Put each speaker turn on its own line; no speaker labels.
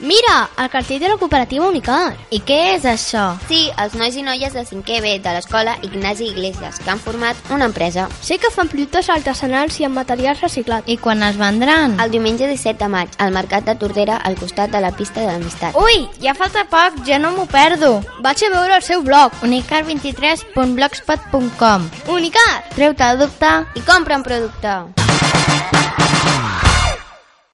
Mira, el cartell de la cooperativa Unicar.
I què és això?
Sí, els nois i noies de 5è B de l'escola Ignasi Iglesias, que han format una empresa.
Sé que fan productes artesanals i amb materials reciclats.
I quan es vendran?
El diumenge 17 de maig, al Mercat de Tordera, al costat de la pista de l'amistat.
Ui, ja falta poc, ja no m'ho perdo.
Vaig a veure el seu blog.
unicar23.blogspot.com
Unicar!
Treu-te el dubte
I compra un producte!